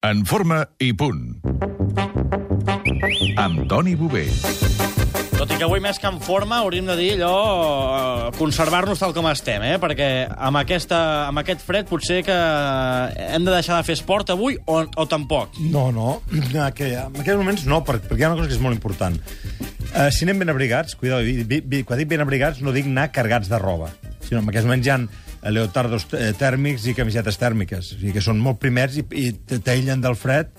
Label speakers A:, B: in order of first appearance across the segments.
A: En forma i punt. Amb Toni Bové.
B: Tot i que avui més que en forma hauríem de dir allò... eh, conservar-nos tal com estem, eh? Perquè amb, aquesta, amb aquest fred potser que hem de deixar de fer esport avui o, o tampoc.
C: No, no, que en aquests moments no, per- perquè hi ha una cosa que és molt important. Uh, si anem ben abrigats, cuidado, i- i- i- quan dic ben abrigats no dic anar carregats de roba, sinó en aquests moments hi ha eh, leotardos eh, tèrmics i camisetes tèrmiques, o sigui que són molt primers i, i t- t'aïllen del fred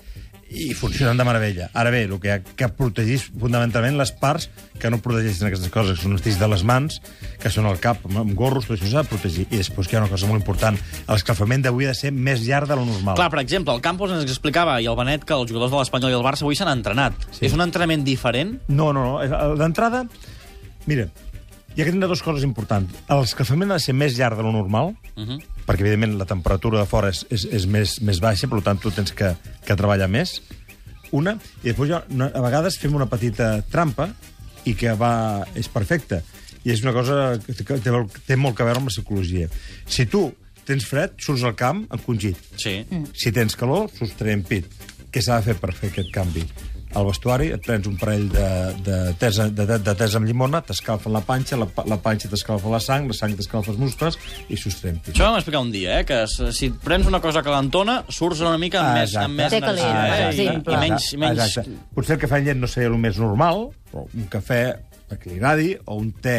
C: i funcionen de meravella. Ara bé, el que hi ha que protegir és fonamentalment les parts que no protegeixen aquestes coses, que són els dits de les mans, que són el cap, amb- amb gorros, tot això s'ha de protegir. I després que hi ha una cosa molt important, l'escalfament d'avui ha de ser més llarg de lo normal.
B: Clar, per exemple, el Campos ens explicava, i el Benet, que els jugadors de l'Espanyol i el Barça avui s'han entrenat. Sí. És un entrenament diferent?
C: No, no, no. El- D'entrada, mira, hi ha que tindre dues coses importants. L'escalfament ha de ser més llarg de lo normal,
B: Uh -huh.
C: perquè, evidentment, la temperatura de fora és, és, és més, més baixa, per tant, tu tens que, que treballar més. Una, i després jo, una, a vegades fem una petita trampa i que va, és perfecta. I és una cosa que té- que té, té molt que veure amb la psicologia. Si tu tens fred, surts al camp encongit.
B: Sí.
D: Mm.
C: Si tens calor, sostrem pit. Què s'ha de fer per fer aquest canvi? Al vestuari et prens un parell de, de, tes, de, de, de tes amb llimona, t'escalfen la panxa, la, pa- la panxa t'escalfa la sang, la sang t'escalfa els muscles i sostrem pit.
B: Això vam explicar un dia, eh? que s- si et prens una cosa calentona, surts una mica amb més, amb més
C: Ah, Exacte.
D: Té calent,
B: energia. eh?
D: per
B: I,
D: exemple.
B: I menys... I menys...
C: Exacte. Potser el cafè amb llet no seria el més normal, però un cafè perquè li agradi, o un te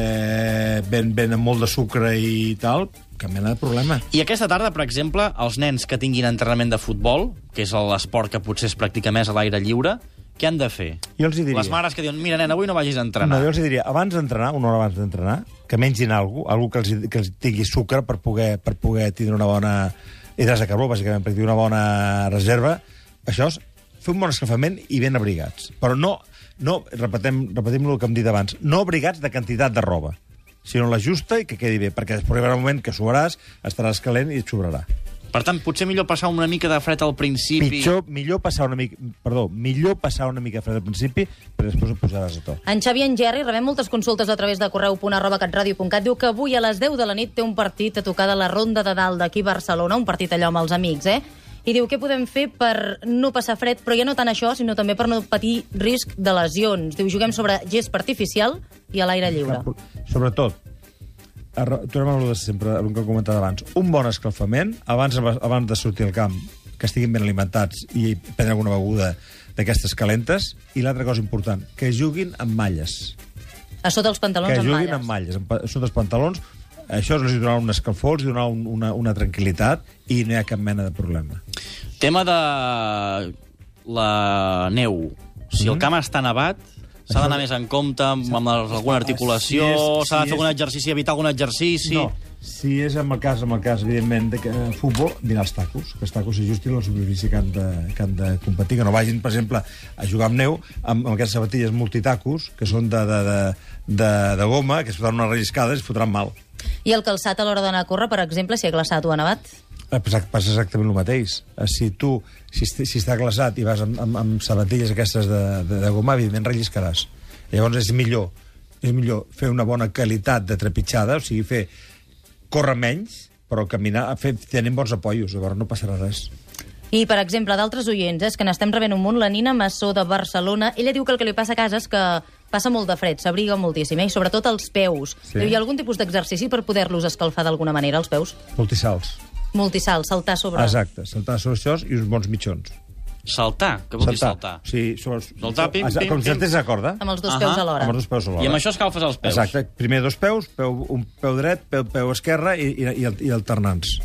C: eh, ben, ben amb molt de sucre i tal, cap mena de problema.
B: I aquesta tarda, per exemple, els nens que tinguin entrenament de futbol, que és l'esport que potser es practica més a l'aire lliure, què han de fer?
C: Jo els hi diria...
B: Les mares que diuen, mira, nen, avui no vagis a
C: No,
B: entrenar.
C: jo els diria, abans d'entrenar, una hora abans d'entrenar, que mengin alguna cosa, algú que els, que els tingui sucre per poder, per poder tindre una bona... Hidrats de carbó, bàsicament, per tenir una bona reserva. Això és fer un bon escalfament i ben abrigats. Però no, no repetim, repetim el que hem dit abans, no abrigats de quantitat de roba, sinó la justa i que quedi bé, perquè després arribarà un moment que suaràs, estaràs calent i et sobrarà.
B: Per tant, potser millor passar una mica de fred al principi.
C: Pitjor, millor passar una mica... Perdó, millor passar una mica fred al principi, però després ho posaràs a to.
D: En Xavi en Gerri rebem moltes consultes a través de correu.arrobacatradio.cat. Diu que avui a les 10 de la nit té un partit a tocar de la Ronda de Dalt d'aquí a Barcelona, un partit allò amb els amics, eh? I diu, què podem fer per no passar fred? Però ja no tant això, sinó també per no patir risc de lesions. Diu, juguem sobre gespa artificial i a l'aire lliure.
C: Cap- Sobretot, arro- tornem a lo de sempre, el que he comentat abans. Un bon escalfament, abans, abans de sortir al camp, que estiguin ben alimentats i prendre alguna beguda d'aquestes calentes. I l'altra cosa important, que juguin amb malles.
D: A sota els pantalons
C: que
D: amb
C: juguin
D: malles.
C: amb malles, amb, pa- sota els pantalons. Això els donarà un escalfor, els donarà un, una, una tranquil·litat i no hi ha cap mena de problema.
B: Tema de la neu. Si
C: Mm-hmm.
B: el camp està nevat, s'ha d'anar més en compte amb, amb alguna articulació,
C: Si és-
B: s'ha de fer
C: si és-
B: algun exercici, evitar algun exercici...
C: No, si és amb el cas, amb el cas evidentment, de que, eh, futbol, mirar els tacos, que els tacos s'ajustin al superfície que han, de, que han de competir, que no vagin, per exemple, a jugar amb neu, amb, amb aquestes sabatilles multitacos, que són de, de, de, de, de goma, que es fotran unes relliscades i es fotran mal.
D: I el calçat a l'hora d'anar a córrer, per exemple, si ha glaçat o ha nevat?
C: Eh, Passa, passa exactament el mateix. Eh, Si tu, si, est- si està glaçat i vas amb, amb, amb sabatilles aquestes de, de, de goma, evidentment relliscaràs. Llavors és millor, és millor fer una bona qualitat de trepitjada, o sigui, fer córrer menys, però caminar, fer, tenir bons apoios, llavors no passarà res.
D: I, per exemple, d'altres oients, eh, és que n'estem rebent un munt, la Nina Massó de Barcelona, ella diu que el que li passa a casa és que passa molt de fred, s'abriga moltíssim, eh? i sobretot els peus.
C: Sí.
D: Sí. Diu, hi ha algun tipus d'exercici per poder-los escalfar d'alguna manera, els peus?
C: Multisalts.
D: Multisalt, saltar sobre...
C: Exacte, saltar sobre això i uns bons mitjons.
B: Saltar, que vol dir saltar.
C: O sigui, sobre,
B: Saltar, pim,
C: Exacte,
B: pim,
C: Com
B: pim.
C: saltes a corda.
D: Amb els dos
B: Ahà.
D: peus alhora.
C: Amb els dos peus alhora.
B: I amb això escalfes els peus.
C: Exacte, primer dos peus, peu, un peu dret, peu, peu esquerre i, i, i, i alternants.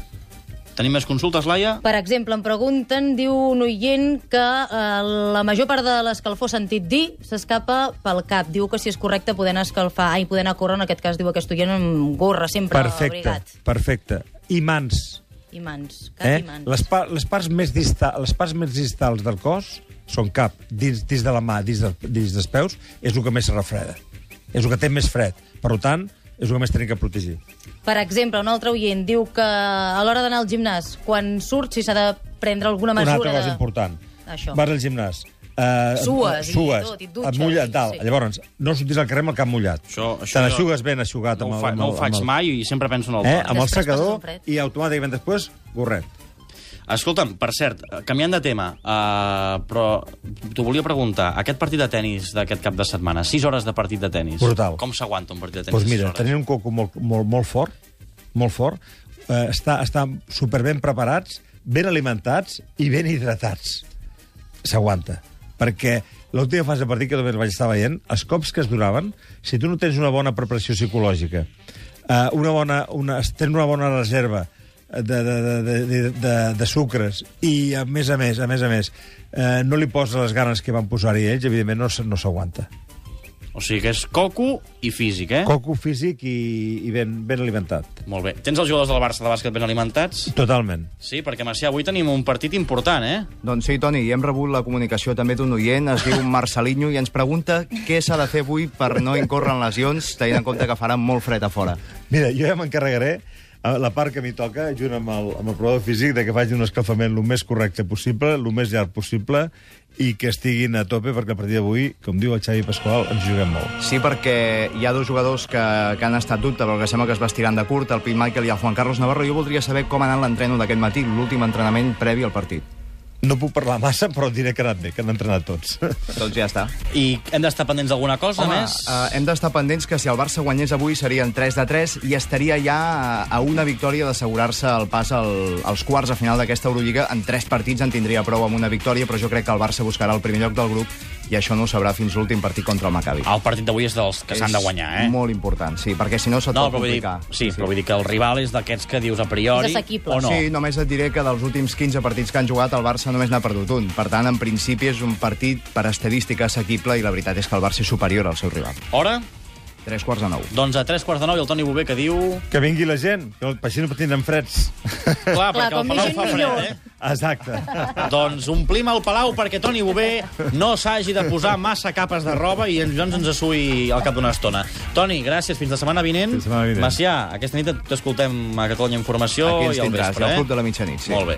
B: Tenim més consultes, Laia?
D: Per exemple, em pregunten, diu un oient, que eh, la major part de l'escalfor sentit dir s'escapa pel cap. Diu que si és correcte poder anar a escalfar, ai, poder anar a córrer, en aquest cas diu aquest oient amb gorra, sempre
C: perfecte,
D: abrigat.
C: perfecte. I mans.
D: I mans, cap
C: Eh?
D: i mans.
C: Les, pa les, parts més dista les parts més distals del cos són cap, dins, dins de la mà, dins, del, dins dels peus, és el que més se refreda. És el que té més fred. Per tant, és el que més tenim que protegir.
D: Per exemple, un altre oient diu que a l'hora d'anar al gimnàs, quan surt, si s'ha de prendre alguna
C: Una
D: mesura...
C: altra cosa
D: de...
C: important.
D: Això.
C: Vas al gimnàs. Eh,
D: Sues i
C: sues,
D: tot, i et
C: Et
D: dutxes,
C: mulla,
D: i-
C: tal.
D: sí.
C: Llavors, no sortis al carrer amb el cap mullat.
B: Això- això
C: Te
B: jo-
C: n'aixugues ben aixugat.
B: No
C: amb
B: ho,
C: el-
B: fa,
C: amb
B: no ho
C: el-
B: faig
C: amb el-
B: mai i sempre penso en el
C: Eh?
B: Toni.
C: Amb el
D: Després passes un
C: secador
D: fred.
C: i automàticament després, gorret.
B: Escolta'm, per cert, eh, canviant de tema, uh, però t'ho volia preguntar, aquest partit de tennis d'aquest cap de setmana, 6 hores de partit de tennis,
C: Brutal.
B: com s'aguanta un partit de tennis?
C: Doncs mira,
B: sis hores?
C: tenint un coco molt, molt, molt fort, molt fort, eh, està, està superben preparats, ben alimentats i ben hidratats. S'aguanta. Perquè l'última fase de partit que també vaig estar veient, els cops que es donaven, si tu no tens una bona preparació psicològica, eh, una bona, una, tens una bona reserva de, de, de, de, de, de sucres i, a més a més, a més a més, eh, no li posa les ganes que van posar-hi ells, evidentment no, s- no s'aguanta.
B: O sigui que és coco i físic, eh?
C: Coco físic i, i ben, ben alimentat.
B: Molt bé. Tens els jugadors del Barça de bàsquet ben alimentats?
C: Totalment.
B: Sí, perquè, Macià, avui tenim un partit important, eh?
E: Doncs sí, Toni, i hem rebut la comunicació també d'un oient, es diu Marcelinho, i ens pregunta què s'ha de fer avui per no incórrer en lesions, tenint en compte que farà molt fred a fora.
C: Mira, jo ja m'encarregaré eh, la part que m'hi toca, junt amb el, amb el provador físic, de que faci un escalfament el més correcte possible, el més llarg possible, i que estiguin a tope, perquè a partir d'avui, com diu el Xavi Pasqual, ens juguem molt.
E: Sí, perquè hi ha dos jugadors que, que han estat dubte, però que sembla que es vestiran de curt, el Pete Michael i el Juan Carlos Navarro. Jo voldria saber com ha anat l'entreno d'aquest matí, l'últim entrenament previ al partit.
C: No puc parlar massa, però diré que ha anat bé, que han entrenat tots.
E: Doncs ja està.
B: I hem d'estar pendents d'alguna cosa
E: Home,
B: més?
E: eh, hem d'estar pendents que si el Barça guanyés avui serien 3 de 3 i estaria ja eh, a- a una victòria d'assegurar-se el pas al, als quarts a final d'aquesta Eurolliga. En 3 partits en tindria prou amb una victòria, però jo crec que el Barça buscarà el primer lloc del grup i això no ho sabrà fins l'últim partit contra el Maccabi.
B: El partit d'avui és dels que s'han de guanyar, eh?
E: Molt important, sí, perquè si no se't
B: No,
E: pot
B: però vull dir,
E: complicar.
B: sí, però vull dir que el rival és d'aquests que dius a priori...
D: És assequible.
B: O no.
E: Sí, només et diré que dels últims 15 partits que han jugat el Barça només n'ha perdut un. Per tant, en principi és un partit per estadística assequible i la veritat és que el Barça és superior al seu rival.
B: Hora?
E: 3 quarts de 9.
B: Doncs a tres quarts de nou i el Toni Bové que diu...
C: Que vingui la gent, que el- així no tindrem freds.
B: Clar, perquè
D: com
B: el
D: més
B: Palau
D: gent,
B: fa
D: millor.
B: fred, eh?
C: Exacte.
B: Doncs omplim el Palau perquè Toni Bové no s'hagi de posar massa capes de roba i ens, doncs ens assui al cap d'una estona. Toni, gràcies. Fins la setmana vinent.
C: Fins la setmana vinent.
B: Macià, aquesta nit t'escoltem a Catalunya Informació
E: Aquí ens
B: i al
E: tindràs,
B: vespre.
E: al
B: eh?
E: Club de la Mitjanit. Sí.
B: Molt bé.